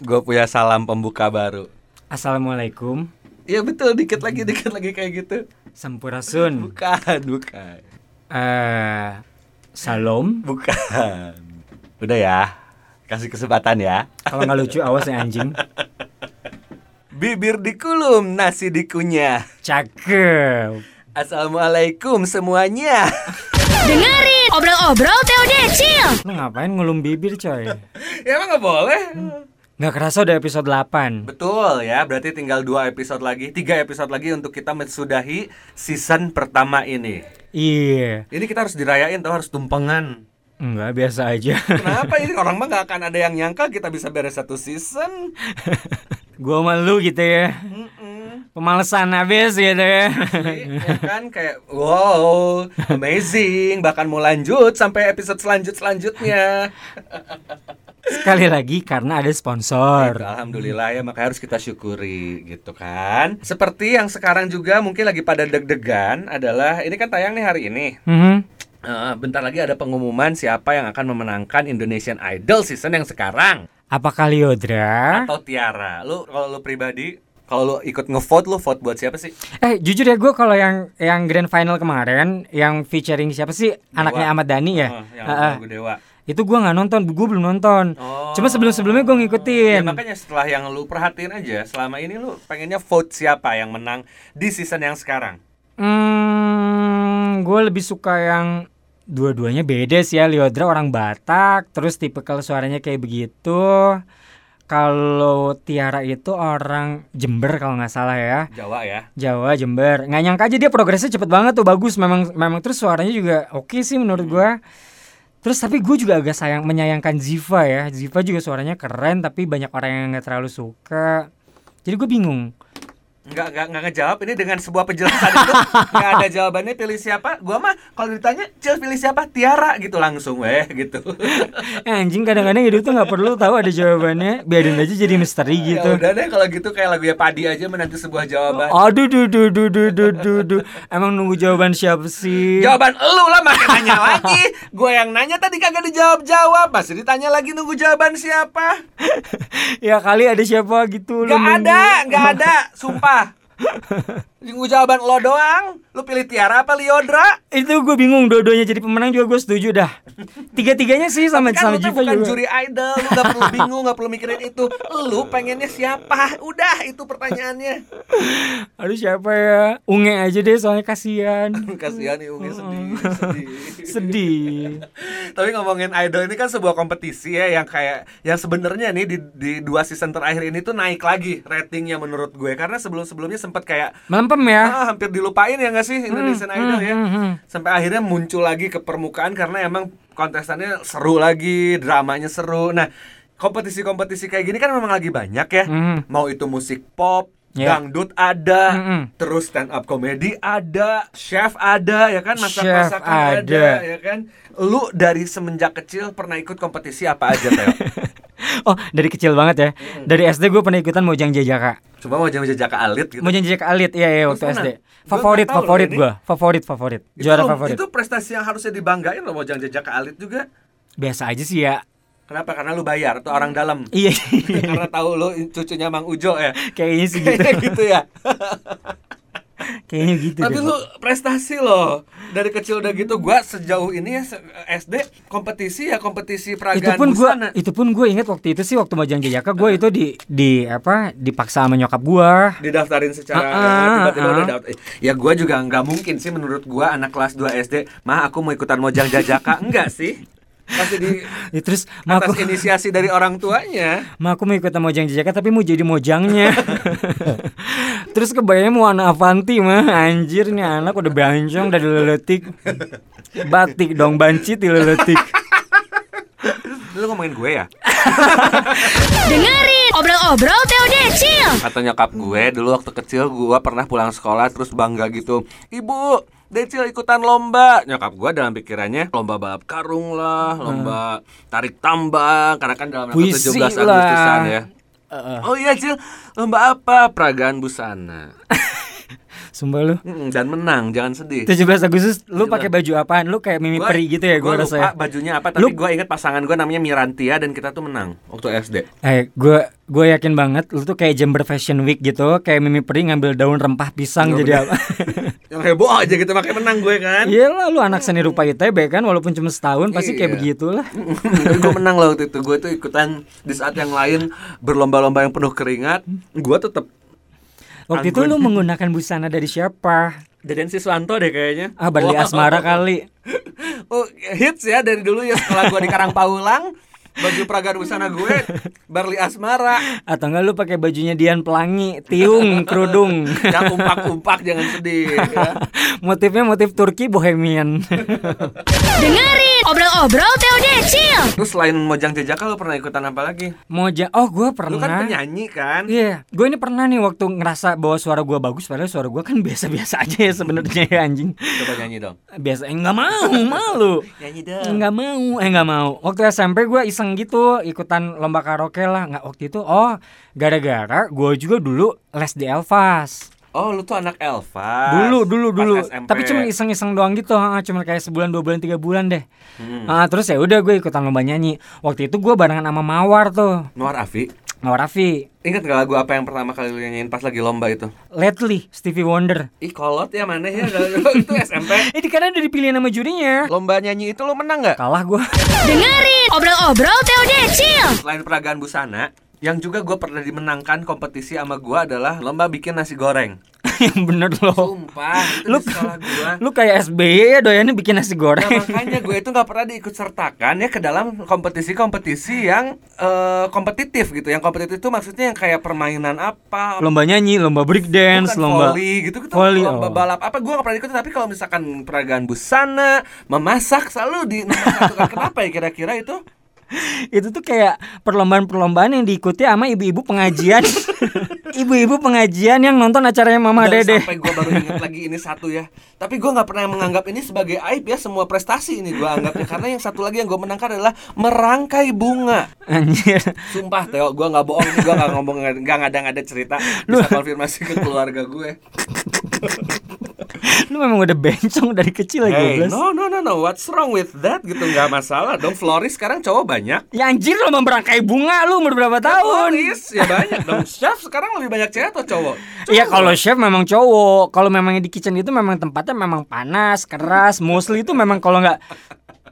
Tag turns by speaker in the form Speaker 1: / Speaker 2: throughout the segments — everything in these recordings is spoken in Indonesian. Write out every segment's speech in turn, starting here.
Speaker 1: Gue punya salam pembuka baru.
Speaker 2: Assalamualaikum,
Speaker 1: Iya betul, dikit lagi, dikit lagi kayak gitu.
Speaker 2: Sampurasun,
Speaker 1: Bukan, bukan,
Speaker 2: eh Salom.
Speaker 1: bukan. Udah ya, kasih kesempatan ya.
Speaker 2: Kalau nggak lucu awas ya anjing.
Speaker 1: Bibir dikulum, nasi dikunyah.
Speaker 2: Cakep.
Speaker 1: Assalamualaikum semuanya.
Speaker 3: Dengerin obrol-obrol Teo Decil.
Speaker 2: Lu ngapain ngulum bibir coy?
Speaker 1: ya emang nggak boleh.
Speaker 2: Nggak kerasa udah episode 8
Speaker 1: Betul ya, berarti tinggal dua episode lagi, tiga episode lagi untuk kita mensudahi season pertama ini.
Speaker 2: Iya,
Speaker 1: Ini kita harus dirayain tuh harus tumpengan.
Speaker 2: nggak biasa aja.
Speaker 1: Kenapa ini orang mah gak akan ada yang nyangka kita bisa beres satu season?
Speaker 2: Gua malu gitu ya.
Speaker 1: Mm-mm.
Speaker 2: Pemalesan habis gitu ya.
Speaker 1: Jadi, ya kan kayak wow, amazing, bahkan mau lanjut sampai episode selanjut selanjutnya.
Speaker 2: Sekali lagi karena ada sponsor.
Speaker 1: Alhamdulillah ya makanya harus kita syukuri gitu kan. Seperti yang sekarang juga mungkin lagi pada deg-degan adalah ini kan tayang nih hari ini.
Speaker 2: Mhm.
Speaker 1: Eh, bentar lagi ada pengumuman siapa yang akan memenangkan Indonesian Idol season yang sekarang
Speaker 2: Apakah Liodra?
Speaker 1: atau Tiara. Lu kalau lu pribadi kalau lu ikut ngevote lu vote buat siapa sih?
Speaker 2: Eh jujur ya gue kalau yang yang grand final kemarin yang featuring siapa sih anaknya Ahmad Dhani ya?
Speaker 1: Heeh, Oh, yang
Speaker 2: Heeh.
Speaker 1: lagu Dewa.
Speaker 2: Itu gue nggak nonton, gue belum nonton.
Speaker 1: Oh.
Speaker 2: Cuma sebelum-sebelumnya gue
Speaker 1: Ya,
Speaker 2: ngikutin.
Speaker 1: makanya setelah yang lu perhatiin aja selama ini lu pengennya vote siapa yang menang di season yang sekarang?
Speaker 2: Hmm, gue lebih suka yang dua-duanya beda sih ya. Liodra orang Batak, terus tipe kalau suaranya kayak begitu. Kalau Tiara itu orang Jember kalau nggak salah ya.
Speaker 1: Jawa ya.
Speaker 2: Jawa Jember nggak nyangka aja dia progresnya cepet banget tuh bagus memang memang terus suaranya juga oke sih menurut gua terus tapi gue juga agak sayang menyayangkan Ziva ya Ziva juga suaranya keren tapi banyak orang yang nggak terlalu suka jadi gue bingung
Speaker 1: Nggak, nggak, nggak ngejawab ini dengan sebuah penjelasan itu nggak ada jawabannya pilih siapa gua mah kalau ditanya Cil pilih siapa Tiara gitu langsung weh gitu
Speaker 2: Eh, anjing kadang-kadang hidup tuh nggak perlu tahu ada jawabannya biarin aja jadi misteri
Speaker 1: ya
Speaker 2: gitu
Speaker 1: udah deh kalau gitu kayak lagunya Padi aja menanti sebuah jawaban
Speaker 2: aduh duh duh duh duh duh duh duh emang nunggu jawaban siapa sih
Speaker 1: jawaban elu lah makin nanya lagi gua yang nanya tadi kagak dijawab jawab masih ditanya lagi nunggu jawaban siapa
Speaker 2: ya kali ada siapa gitu lu
Speaker 1: nggak
Speaker 2: nunggu.
Speaker 1: ada nggak ada sumpah nunggu jawaban lo doang lu pilih Tiara apa Liodra
Speaker 2: itu gue bingung dua-duanya jadi pemenang juga gue setuju dah tiga-tiganya sih sama
Speaker 1: kan lu
Speaker 2: sama
Speaker 1: tuh
Speaker 2: Jiva
Speaker 1: bukan
Speaker 2: juga
Speaker 1: juri idol lu gak perlu bingung gak perlu mikirin itu lu pengennya siapa udah itu pertanyaannya
Speaker 2: aduh siapa ya unge aja deh soalnya kasihan
Speaker 1: kasihan nih Unge sedih,
Speaker 2: Oh.
Speaker 1: sedih.
Speaker 2: sedih
Speaker 1: tapi ngomongin idol ini kan sebuah kompetisi ya yang kayak yang sebenarnya nih di, di dua season terakhir ini tuh naik lagi ratingnya menurut gue karena sebelum sebelumnya sempat kayak
Speaker 2: melempem ya
Speaker 1: ah, hampir dilupain ya nggak sih
Speaker 2: Hmm,
Speaker 1: Indonesian Idol ya sampai akhirnya muncul lagi ke permukaan karena emang kontestannya seru lagi dramanya seru nah kompetisi-kompetisi kayak gini kan memang lagi banyak ya
Speaker 2: Mhm.
Speaker 1: mau itu musik pop
Speaker 2: Ya.
Speaker 1: dangdut ada
Speaker 2: Mhm.
Speaker 1: terus stand up komedi ada chef ada ya kan masak-masakan
Speaker 2: Chef
Speaker 1: ada.
Speaker 2: ada.
Speaker 1: ya kan lu dari semenjak kecil pernah ikut kompetisi apa aja Teo?
Speaker 2: oh dari kecil banget ya
Speaker 1: Hmm.
Speaker 2: dari SD gue pernah ikutan Mojang Jajaka
Speaker 1: coba mau jamu jejak alit gitu
Speaker 2: Mojang Jajaka Alit iya iya waktu
Speaker 1: Terus
Speaker 2: SD
Speaker 1: menang? Gua
Speaker 2: favorit
Speaker 1: nggak tahu
Speaker 2: favorit
Speaker 1: loh ini.
Speaker 2: gue favorit favorit
Speaker 1: itu,
Speaker 2: juara
Speaker 1: lo-
Speaker 2: favorit
Speaker 1: itu prestasi yang harusnya dibanggain loh mau jamu jejak alit juga
Speaker 2: biasa aja sih ya
Speaker 1: Kenapa? Karena lu bayar tuh orang dalam.
Speaker 2: iya
Speaker 1: Karena tahu lu cucunya Mang Ujo ya.
Speaker 2: kayaknya sih gitu
Speaker 1: Kayaknya gitu ya.
Speaker 2: kayaknya gitu
Speaker 1: Tapi
Speaker 2: deh.
Speaker 1: lu prestasi loh. Dari kecil udah gitu gua sejauh ini ya se- SD kompetisi ya kompetisi
Speaker 2: itu
Speaker 1: peragaan
Speaker 2: pun gue
Speaker 1: busana.
Speaker 2: itu pun gue ingat waktu itu sih waktu Mojang Jajaka gue itu di di apa dipaksa sama nyokap gue
Speaker 1: didaftarin secara
Speaker 2: Ah, ah,
Speaker 1: tiba-tiba
Speaker 2: ah.
Speaker 1: udah daft- eh, ya gua juga nggak mungkin sih menurut gua anak kelas 2 SD mah aku mau ikutan mojang jajaka enggak sih pasti di
Speaker 2: Ya, terus ma
Speaker 1: atas
Speaker 2: aku,
Speaker 1: inisiasi dari orang tuanya
Speaker 2: ma aku mau ikut sama Mojang Jajaka tapi mau jadi mojangnya. terus kebayangnya mau anak Avanti mah anjir nih anak udah bancong udah dileletik. Batik dong banci dileletik.
Speaker 1: lu ngomongin gue ya
Speaker 3: Dengerin obrol-obrol Teo Decil.
Speaker 1: Kata nyokap gue dulu waktu kecil gue pernah pulang sekolah terus bangga gitu Ibu, Decil ikutan lomba Nyokap gue dalam pikirannya lomba balap karung lah, lomba tarik tambang Karena kan dalam rangka
Speaker 2: Puisi
Speaker 1: 17
Speaker 2: lah.
Speaker 1: Agustusan ya Oh iya Cil, lomba apa? Peragaan busana
Speaker 2: sumpah lu.
Speaker 1: Mm, dan menang, jangan sedih.
Speaker 2: 17 Agustus lu
Speaker 1: 17.
Speaker 2: pakai baju apaan? Lu kayak Mimi
Speaker 1: Gua-
Speaker 2: Peri gitu ya
Speaker 1: gua lupa
Speaker 2: gua rasa. ya.
Speaker 1: bajunya apa tapi
Speaker 2: Lu-
Speaker 1: gua inget pasangan gua namanya Mirantia dan kita tuh menang waktu SD.
Speaker 2: Eh, gue gue yakin banget lu tuh kayak Jember Fashion Week gitu, kayak Mimi Peri ngambil daun rempah pisang
Speaker 1: Iya,
Speaker 2: jadi
Speaker 1: bener.
Speaker 2: apa?
Speaker 1: Yang heboh aja gitu makanya menang gue kan.
Speaker 2: Iyalah lu anak seni rupa ITB kan walaupun cuma setahun pasti
Speaker 1: Iya.
Speaker 2: kayak begitulah.
Speaker 1: Tapi gue menang loh waktu itu Gue tuh ikutan Di saat yang lain Berlomba-lomba yang penuh keringat Gue tetap
Speaker 2: Waktu itu lu menggunakan busana dari siapa?
Speaker 1: Deden Siswanto deh kayaknya
Speaker 2: Ah, Barli
Speaker 1: Wow.
Speaker 2: Asmara kali.
Speaker 1: Oh hits ya dari dulu ya Setelah gue di Karangpaulang Baju pragar busana gue Barli Asmara
Speaker 2: Atau enggak lu pakai bajunya Dian Pelangi, tiung, kerudung.
Speaker 1: Yang umpak-umpak jangan sedih ya.
Speaker 2: Motifnya motif Turki bohemian.
Speaker 3: Dengerin obrol-obrol TOD Chill.
Speaker 1: Terus selain Mojang Jejaka lo pernah ikutan apa lagi?
Speaker 2: Moja, oh
Speaker 1: Lu
Speaker 2: gue
Speaker 1: kan
Speaker 2: pernah.
Speaker 1: penyanyi kan?
Speaker 2: Iya, gue ini pernah nih waktu ngerasa bahwa suara gue bagus, padahal suara gue kan biasa-biasa aja ya sebenarnya ya anjing.
Speaker 1: Coba nyanyi dong
Speaker 2: Biasa, eh, nggak mau, malu.
Speaker 1: Nyanyi
Speaker 2: Nggak mau, eh nggak mau. Waktu SMP gue iseng gitu ikutan lomba karaoke lah. Nggak waktu itu, oh gara-gara gue juga dulu les di Elvas.
Speaker 1: Oh lu tuh anak Elva
Speaker 2: Dulu, dulu,
Speaker 1: Pas
Speaker 2: dulu.
Speaker 1: SMP.
Speaker 2: Tapi cuma iseng-iseng doang gitu, ah, cuma kayak sebulan, dua bulan, tiga bulan deh.
Speaker 1: Hmm.
Speaker 2: Ah, terus ya udah gue ikutan lomba nyanyi. Waktu itu gue barengan sama Mawar tuh,
Speaker 1: Mawar Afi
Speaker 2: Mawar Raffi.
Speaker 1: Ingat gak lagu apa yang pertama kali lu nyanyiin pas lagi lomba itu?
Speaker 2: Lately, Stevie Wonder.
Speaker 1: Ih kolot ya mana ya itu SMP.
Speaker 2: Ini karena udah dipilih nama jurinya.
Speaker 1: Lomba nyanyi itu lu menang nggak?
Speaker 2: Kalah gua
Speaker 3: Dengerin obrol-obrol TOD Chill.
Speaker 1: Selain peragaan busana, yang juga gue pernah dimenangkan kompetisi sama gue adalah lomba bikin nasi goreng.
Speaker 2: Yang bener
Speaker 1: Oh.
Speaker 2: loh.
Speaker 1: Sumpah, itu
Speaker 2: Lu,
Speaker 1: di sekolah gue.
Speaker 2: lu kayak SBY ya doyannya bikin nasi
Speaker 1: Nah,
Speaker 2: goreng.
Speaker 1: makanya gue itu nggak pernah diikut sertakan ya ke dalam kompetisi-kompetisi yang eh, kompetitif gitu. Yang kompetitif itu maksudnya yang kayak permainan apa,
Speaker 2: lomba nyanyi, lomba break dance,
Speaker 1: Bukan
Speaker 2: lomba
Speaker 1: volley gitu gitu
Speaker 2: volley,
Speaker 1: lomba
Speaker 2: oh.
Speaker 1: balap apa gue gak pernah ikut tapi kalau misalkan peragaan busana memasak selalu di nomor satu kan. kenapa ya kira-kira itu
Speaker 2: Itu tuh kayak perlombaan-perlombaan yang diikuti sama ibu-ibu pengajian. ibu-ibu pengajian yang nonton acaranya Mama
Speaker 1: Dan
Speaker 2: Dede.
Speaker 1: sampai gue baru ingat lagi ini satu ya tapi gue nggak pernah menganggap ini sebagai aib ya semua prestasi ini gue anggapnya karena yang satu lagi yang gue menangkan adalah merangkai bunga
Speaker 2: Anjir.
Speaker 1: sumpah Teo gue nggak bohong gue nggak ngomong nggak ngada-ngada cerita bisa konfirmasi ke keluarga gue
Speaker 2: Lu memang udah bencong dari kecil ya
Speaker 1: Hey,
Speaker 2: gobles.
Speaker 1: no no no no what's wrong with that gitu nggak masalah dong Floris sekarang cowok banyak
Speaker 2: Ya anjir lo memberangkai bunga lu umur berapa tahun?
Speaker 1: Floris ya banyak dong. Chef sekarang lebih banyak cewek atau cowok?
Speaker 2: Iya kalau chef memang cowok. Kalau memang di kitchen itu memang tempatnya memang panas, keras. Mostly itu memang kalau nggak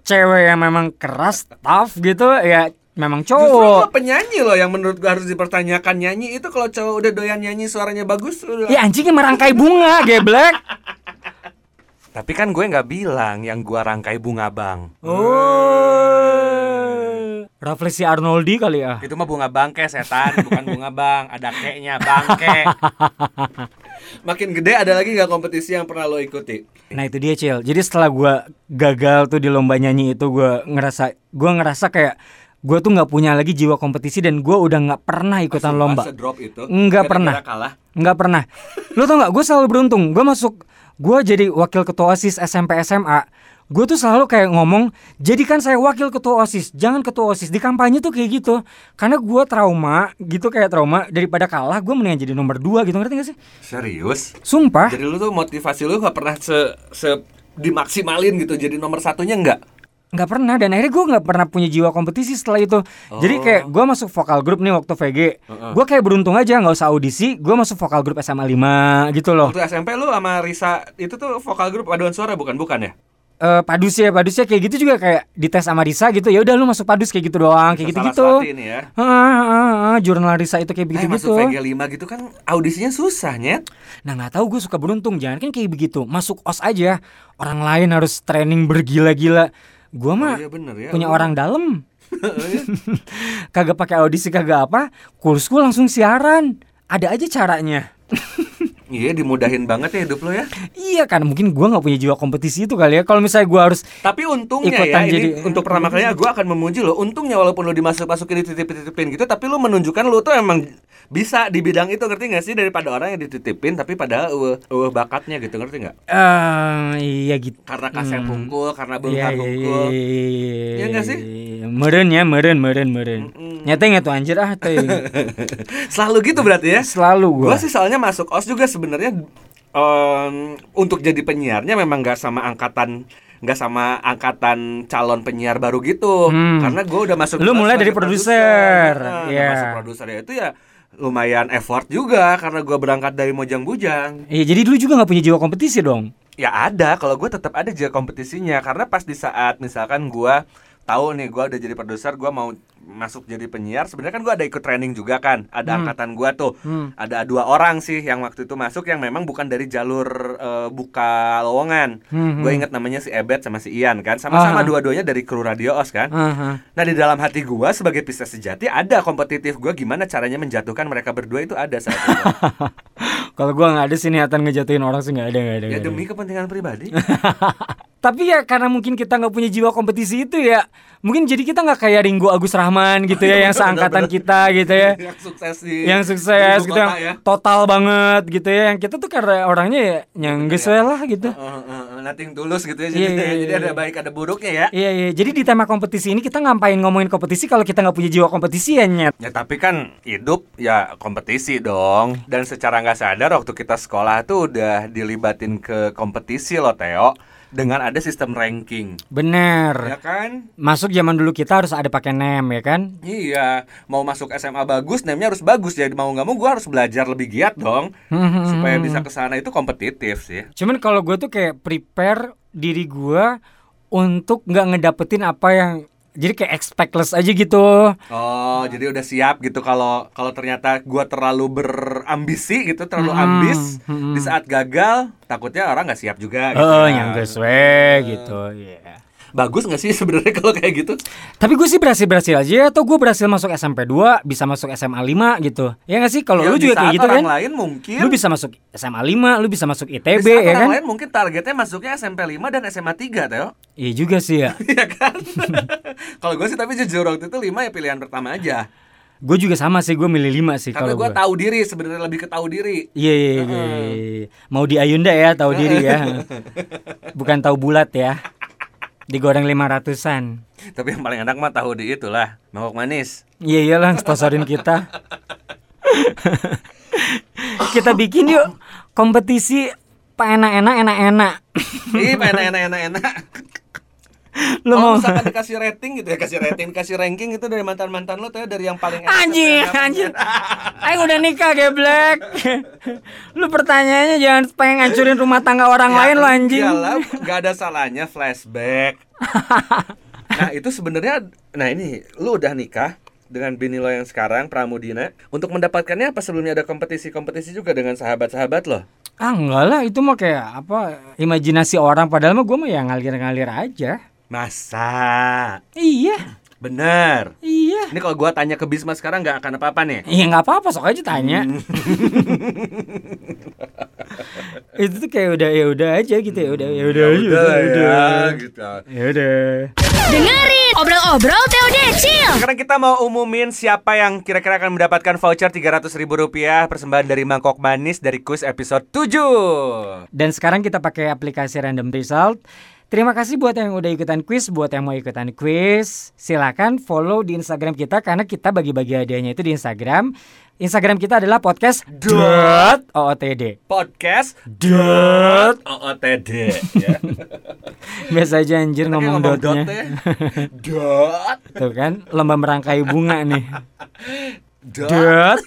Speaker 2: cewek yang memang keras, tough gitu ya memang
Speaker 1: Justru lo
Speaker 2: cowok.
Speaker 1: penyanyi loh yang menurut gua harus dipertanyakan nyanyi itu kalau cowok udah doyan nyanyi suaranya bagus udah.
Speaker 2: Ya anjingnya merangkai bunga, geblek.
Speaker 1: Tapi kan gue nggak bilang yang gua rangkai bunga bang.
Speaker 2: Oh. Refleksi Arnoldi kali ya.
Speaker 1: Itu mah bunga bangke setan, bukan bunga bang. Ada keknya bangke. Makin gede ada lagi nggak kompetisi yang pernah lo ikuti?
Speaker 2: Nah itu dia Cil. Jadi setelah gua gagal tuh di lomba nyanyi itu gua ngerasa gua ngerasa kayak gua tuh nggak punya lagi jiwa kompetisi dan gua udah nggak pernah ikutan lomba.
Speaker 1: drop itu.
Speaker 2: Nggak pernah.
Speaker 1: Gara-gara Kalah.
Speaker 2: Nggak pernah. Lu tau nggak? Gue selalu beruntung. Gue masuk, gue jadi wakil ketua osis SMP SMA. Gue tuh selalu kayak ngomong, jadikan saya wakil ketua osis, jangan ketua osis. Di kampanye tuh kayak gitu, karena gue trauma, gitu kayak trauma. Daripada kalah, gue mendingan jadi nomor dua gitu ngerti gak sih?
Speaker 1: Serius?
Speaker 2: Sumpah,
Speaker 1: Jadi lu tuh motivasi lu nggak pernah se, se dimaksimalin gitu. Jadi nomor satunya nggak?
Speaker 2: nggak pernah. Dan akhirnya gue nggak pernah punya jiwa kompetisi setelah itu. Jadi
Speaker 1: Oh.
Speaker 2: kayak gue masuk vokal grup nih waktu VG. Gue kayak beruntung aja, nggak usah audisi. Gue masuk vokal grup SMA 5 gitu loh.
Speaker 1: Waktu SMP lu sama Risa itu tuh vokal grup paduan suara bukan bukan ya?
Speaker 2: eh padus ya padus ya kayak gitu juga kayak dites sama Risa gitu ya udah lu masuk padus kayak gitu doang kayak gitu gitu
Speaker 1: Saraswati ini ya.
Speaker 2: Heeh, heeh, heeh, jurnal Risa itu kayak
Speaker 1: Eh,
Speaker 2: begitu
Speaker 1: masuk
Speaker 2: gitu
Speaker 1: VG 5 gitu kan audisinya susah nyet.
Speaker 2: nah nggak tahu gue suka beruntung jangan kan kayak begitu masuk os aja orang lain harus training bergila-gila gua mah
Speaker 1: iya bener ya.
Speaker 2: punya orang dalam kagak pakai audisi kagak apa kursku langsung siaran ada aja caranya
Speaker 1: Iya dimudahin banget ya hidup lu ya.
Speaker 2: iya kan mungkin gua nggak punya jiwa kompetisi itu kali ya kalau misalnya gua harus
Speaker 1: Tapi untungnya
Speaker 2: Ikutan
Speaker 1: ya ini
Speaker 2: jadi-
Speaker 1: untuk pertama kalinya gue akan memuji lo. Untungnya walaupun lo dimasuk masukin dititip-titipin gitu, tapi lo menunjukkan lo tuh emang bisa di bidang itu ngerti gak sih daripada orang yang dititipin tapi padahal uh, uh, bakatnya gitu ngerti nggak?
Speaker 2: eh iya gitu
Speaker 1: Karena kasih pungkul, karena
Speaker 2: Iya,
Speaker 1: bongkar
Speaker 2: iya,
Speaker 1: pungkul.
Speaker 2: iya, iya,
Speaker 1: Iya nggak sih?
Speaker 2: Meren ya, meren, meren, meren. Nyatanya tuh anjir ah teh.
Speaker 1: Selalu gitu berarti ya?
Speaker 2: Selalu gua.
Speaker 1: Gua sih soalnya masuk OS juga sebenarnya em, untuk jadi penyiarnya memang nggak sama angkatan nggak sama angkatan calon penyiar baru gitu
Speaker 2: Hmm.
Speaker 1: karena gue udah masuk
Speaker 2: Lu mulai dari produser.
Speaker 1: Nah, udah
Speaker 2: Iya.
Speaker 1: masuk produser ya itu ya lumayan effort juga karena gue berangkat dari mojang bujang
Speaker 2: Iya, jadi dulu juga nggak punya jiwa kompetisi dong.
Speaker 1: ya ada kalau gue tetap ada aja kompetisinya karena pas di saat misalkan gue tahu nih gue udah jadi produser gue mau masuk jadi penyiar sebenarnya kan gue ada ikut training juga kan ada angkatan gue tuh
Speaker 2: Hmm.
Speaker 1: ada dua orang sih yang waktu itu masuk yang memang bukan dari jalur eh, buka lowongan
Speaker 2: Hmm,
Speaker 1: gue inget namanya si Ebet sama si Ian kan sama-sama
Speaker 2: Ah.
Speaker 1: dua-duanya dari kru radio os kan
Speaker 2: Aha.
Speaker 1: Nah di dalam hati gua sebagai pisah sejati ada kompetitif gua gimana caranya menjatuhkan mereka berdua itu ada saat itu.
Speaker 2: Kalau gua nggak ada sih niatan ngejatuhin orang sih nggak ada nggak ada.
Speaker 1: ya
Speaker 2: nggak ada.
Speaker 1: demi kepentingan pribadi.
Speaker 2: Tapi ya karena mungkin kita nggak punya jiwa kompetisi itu ya, mungkin jadi kita nggak kayak Ringo Agus Rahman gitu ya yang seangkatan kita gitu ya.
Speaker 1: yang sukses di
Speaker 2: yang sukses
Speaker 1: di ibu
Speaker 2: gitu
Speaker 1: kota
Speaker 2: yang
Speaker 1: ya.
Speaker 2: total banget gitu ya yang kita tuh karena orangnya ya yang geus we lah gitu
Speaker 1: Heeh, heeh, nothing tulus gitu ya.
Speaker 2: Iya,
Speaker 1: Jadi,
Speaker 2: iya,
Speaker 1: jadi
Speaker 2: iya.
Speaker 1: ada baik ada buruknya ya.
Speaker 2: iya iya jadi di tema kompetisi ini kita ngapain ngomongin kompetisi kalau kita nggak punya jiwa kompetisi ya nyet
Speaker 1: Ya tapi kan hidup ya kompetisi dong Dan secara nggak sadar waktu kita sekolah tuh udah dilibatin ke kompetisi loh Teo Dengan ada sistem ranking Ya
Speaker 2: bener
Speaker 1: kan?
Speaker 2: masuk zaman dulu kita harus ada pakai name ya kan
Speaker 1: Iya Mau masuk SMA bagus, namanya harus bagus Jadi mau nggak mau gue harus belajar lebih giat dong
Speaker 2: Hmm,
Speaker 1: Supaya bisa ke sana itu kompetitif sih
Speaker 2: cuman kalau gue tuh kayak prepare diri gue untuk nggak ngedapetin apa yang jadi kayak expectless aja gitu
Speaker 1: Oh, jadi udah siap gitu kalau kalau ternyata gua terlalu berambisi gitu, terlalu ambis
Speaker 2: hmm.
Speaker 1: di saat gagal, takutnya orang nggak siap juga.
Speaker 2: eh
Speaker 1: Gitu
Speaker 2: eh,
Speaker 1: ya.
Speaker 2: yang geus we gitu iya.
Speaker 1: Bagus nggak sih sebenarnya kalau kayak gitu?
Speaker 2: Tapi gue sih berhasil-berhasil aja ya. atau gue berhasil masuk SMP 2 Bisa masuk SMA 5 gitu Ya gak sih? Kalau
Speaker 1: Ya,
Speaker 2: lu
Speaker 1: di
Speaker 2: juga kayak
Speaker 1: saat
Speaker 2: gitu
Speaker 1: orang
Speaker 2: kan
Speaker 1: lain mungkin.
Speaker 2: Lu bisa masuk SMA 5 Lu bisa masuk
Speaker 1: di saat
Speaker 2: ITB ya
Speaker 1: orang
Speaker 2: kan?
Speaker 1: lain mungkin targetnya masuknya SMP 5 dan SMA 3, Teo.
Speaker 2: Iya juga sih ya
Speaker 1: Iya kan? kalau gue sih tapi jujur waktu itu 5 ya pilihan pertama aja.
Speaker 2: Gue juga sama sih Gue milih 5 sih
Speaker 1: Karena
Speaker 2: kalau
Speaker 1: gue
Speaker 2: gue
Speaker 1: tahu diri sebenarnya lebih ke tahu diri.
Speaker 2: Iya iya iya, iya, iya. Mau di Ayunda ya tahu diri ya Bukan tahu bulat ya Digoreng 500an
Speaker 1: Tapi yang paling enak mah tahu di itulah, mangkok manis.
Speaker 2: Iya iyalah sponsorin kita Kita bikin yuk Kompetisi Pak enak-enak enak-enak
Speaker 1: Ih, enak enak enak enak.
Speaker 2: Lu
Speaker 1: Kalau
Speaker 2: mau
Speaker 1: misalkan dikasih rating gitu ya, kasih rating, kasih ranking itu dari mantan-mantan lo tuh dari yang paling enak
Speaker 2: Anjing,
Speaker 1: sampai gitu ya. yang-
Speaker 2: anjing. Aing udah nikah geblek. lu pertanyaannya jangan pengen ngancurin rumah tangga
Speaker 1: Ya,
Speaker 2: orang lain lo anjing.
Speaker 1: Iyalah, nggak ada salahnya flashback. nah, itu sebenarnya nah ini lu udah nikah dengan bini lo yang sekarang Pramudina. Untuk mendapatkannya apa sebelumnya ada kompetisi-kompetisi juga dengan sahabat-sahabat lo?
Speaker 2: Ah enggak lah itu mah kayak apa imajinasi orang padahal mah gue mah ya ngalir-ngalir aja.
Speaker 1: Masa?
Speaker 2: Iya,
Speaker 1: Bener.
Speaker 2: iya.
Speaker 1: Ini kalau gua tanya ke Bisma sekarang nggak akan apa-apa nih.
Speaker 2: Iya nggak apa-apa sok aja tanya. itu tuh kayak udah ya udah aja gitu ya udah ya udah aja, udah udah.
Speaker 1: gitu.
Speaker 2: Ya udah.
Speaker 3: Dengerin obrol-obrol Teo Decil.
Speaker 1: Sekarang kita mau umumin siapa yang kira-kira akan mendapatkan voucher 300 ribu rupiah persembahan dari Mangkok Manis dari kuis episode 7.
Speaker 2: Dan sekarang kita pakai aplikasi Random Result. Terima kasih buat yang udah ikutan quiz, buat yang mau ikutan quiz, silakan follow di Instagram kita karena kita bagi-bagi hadiahnya itu di Instagram. Instagram kita adalah podcast dot ootd.
Speaker 1: Podcast Oh,
Speaker 2: Dot.
Speaker 1: OOTD ya.
Speaker 2: Biasa aja anjir ngomong,
Speaker 1: Ngomong
Speaker 2: dotnya.
Speaker 1: dotnya. Dot.
Speaker 2: Tuh kan, lomba merangkai bunga nih.
Speaker 1: Dot.
Speaker 2: Dot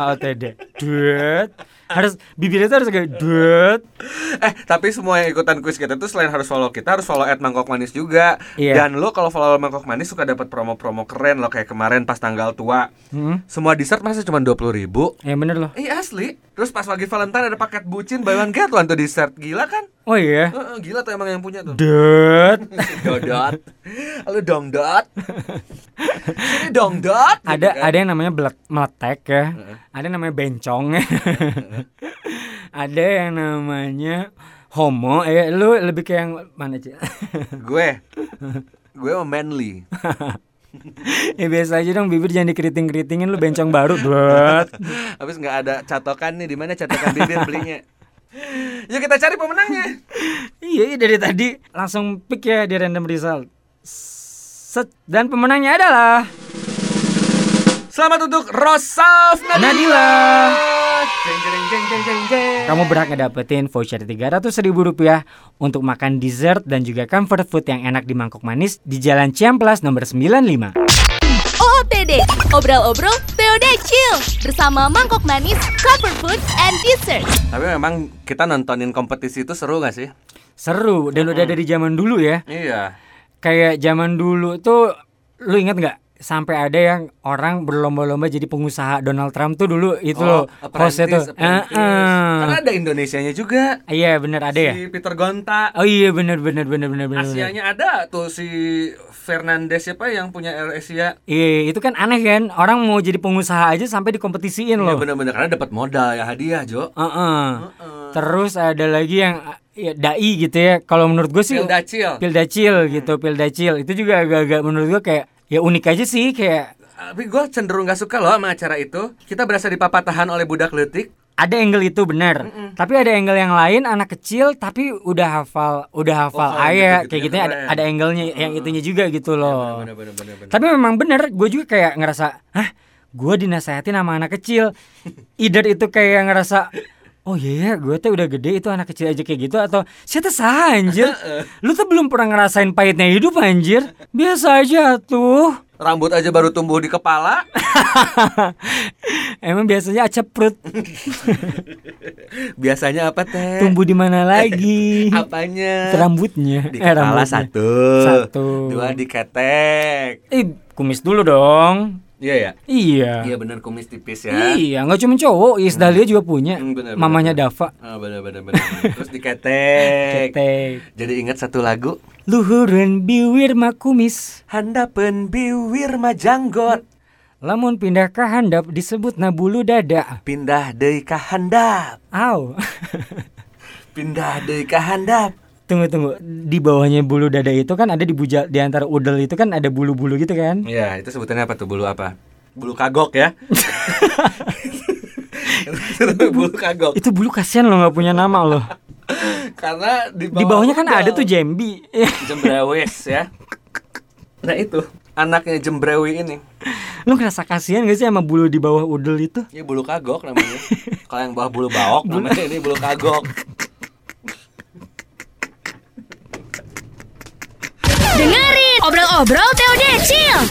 Speaker 2: ootd. Dot. Harus bibirnya tuh harus kayak dot.
Speaker 1: Eh, tapi semua yang ikutan kuis kita tuh selain harus follow kita, harus follow at Mangkok Manis juga.
Speaker 2: Iya.
Speaker 1: Dan lo kalau follow Mangkok Manis suka dapat promo-promo keren lo kayak kemarin pas tanggal tua.
Speaker 2: Hmm.
Speaker 1: Semua dessert masa cuma 20 ribu.
Speaker 2: Ya bener loh.
Speaker 1: Iya asli. Terus pas lagi Valentine ada paket bucin buy one get one tuh dessert. Gila kan?
Speaker 2: Oh iya.
Speaker 1: Heeh, gila tuh emang yang punya tuh.
Speaker 2: Dot.
Speaker 1: Dodot. Halo dong dot. Ini dong dot. Gitu
Speaker 2: ada
Speaker 1: kan.
Speaker 2: ada yang namanya belek meletek ya ada yang namanya bencong ada yang namanya homo eh lu lebih ke yang mana sih
Speaker 1: gue. Gue mau manly.
Speaker 2: ya biasa aja dong bibir jangan dikeriting keritingin lu bencong baru buat
Speaker 1: Habis nggak ada catokan nih di mana catokan bibir belinya. Yuk kita cari pemenangnya.
Speaker 2: iya iya, dari tadi langsung pick ya di random result Set. dan pemenangnya adalah
Speaker 1: Selamat untuk Rosaf Nadila.
Speaker 2: Nadila
Speaker 1: Jeng, jeng, jeng, jeng, jeng, jeng.
Speaker 2: Kamu berhak ngedapetin voucher 300 ribu rupiah untuk makan dessert dan juga comfort food yang enak di mangkok manis di Jalan Ciamplas nomor 95.
Speaker 3: OOTD, obrol-obrol TOD Chill bersama mangkok manis, cover food, and dessert.
Speaker 1: Tapi memang kita nontonin kompetisi itu seru gak sih?
Speaker 2: Seru dan udah dari zaman dulu ya.
Speaker 1: Iya.
Speaker 2: Kayak zaman dulu tuh lu ingat nggak sampai ada yang orang berlomba-lomba jadi pengusaha Donald Trump tuh dulu itu Gitu loh hostnya
Speaker 1: Oh,
Speaker 2: tuh.
Speaker 1: apprentice.
Speaker 2: Eh, eh.
Speaker 1: Karena ada Indonesianya juga.
Speaker 2: Iya bener ada ya.
Speaker 1: Si
Speaker 2: Iya,
Speaker 1: Peter Gonta.
Speaker 2: Oh iya bener bener bener bener bener. bener.
Speaker 1: Asianya ada tuh si Fernandes siapa yang punya Air Asia.
Speaker 2: Iya itu kan aneh kan orang mau jadi pengusaha aja sampai
Speaker 1: Iya
Speaker 2: dikompetisiin loh.
Speaker 1: bener-bener karena dapat modal ya hadiah Jo.
Speaker 2: Heeh. Terus ada lagi yang ya, dai gitu ya. Kalau menurut gue sih
Speaker 1: Pil Dacil. Hmm.
Speaker 2: Pildacil gitu, Pildacil. Itu juga agak-agak menurut gue kayak ya unik aja sih kayak
Speaker 1: Tapi gue cenderung gak suka loh sama acara itu. Kita berasa dipapatahan oleh budak letik.
Speaker 2: ada angle itu benar, tapi ada angle yang lain anak kecil tapi udah hafal, udah hafal
Speaker 1: Vokal
Speaker 2: ayat
Speaker 1: gitu-gitu ya,
Speaker 2: kayak gitu ada
Speaker 1: keren.
Speaker 2: ada angle-nya yang itunya juga gitu loh.
Speaker 1: Iya, Bener-bener.
Speaker 2: Tapi memang bener, gue juga kayak ngerasa, hah, gue dinasehatin sama anak kecil. Either itu kayak ngerasa, oh iya, ya, gue tuh udah gede itu anak kecil aja kayak gitu atau siapa sah anjir, lu tuh belum pernah ngerasain pahitnya hidup anjir, biasa aja tuh.
Speaker 1: Rambut aja baru tumbuh di kepala.
Speaker 2: Emang biasanya acap perut
Speaker 1: Biasanya apa teh?
Speaker 2: tumbuh di mana lagi?
Speaker 1: Apanya?
Speaker 2: Rambutnya.
Speaker 1: Di
Speaker 2: Eh,
Speaker 1: kepala
Speaker 2: rambutnya.
Speaker 1: satu.
Speaker 2: Satu.
Speaker 1: Dua di ketek.
Speaker 2: Eh, kumis dulu dong.
Speaker 1: Iya ya.
Speaker 2: Iya.
Speaker 1: Iya benar kumis tipis ya.
Speaker 2: Iya, nggak cuma cowok, Iis Dahlia juga punya.
Speaker 1: Hmm, benar, benar,
Speaker 2: Mamanya
Speaker 1: benar.
Speaker 2: Dava.
Speaker 1: Ah, benar benar benar. Terus di ketek.
Speaker 2: Ketek.
Speaker 1: Jadi ingat satu lagu.
Speaker 2: Luhureun biwir makumis
Speaker 1: Handapen biwir majanggot
Speaker 2: Lamun pindah ke handap disebut nabulu dada
Speaker 1: Pindah deui ka handap
Speaker 2: Au
Speaker 1: Pindah deui ka handap
Speaker 2: Tunggu tunggu Di bawahnya bulu dada itu kan ada di buja Di antara udel itu kan ada bulu-bulu gitu kan
Speaker 1: Ya itu sebutannya apa tuh bulu apa? Bulu kagok ya Itu bulu kagok
Speaker 2: Itu bulu kasihan loh nggak punya nama loh
Speaker 1: Karena di,
Speaker 2: Di bawahnya kan
Speaker 1: udang.
Speaker 2: ada tuh jambi
Speaker 1: Jembrewis ya Nah itu Anaknya jembrewi ini
Speaker 2: Lu ngerasa kasihan gak sih sama bulu di bawah udel itu?
Speaker 1: Ini bulu kagok namanya Kalau yang bawah bulu baok namanya ini bulu kagok
Speaker 3: Dengerin obrol-obrol TOD Chill.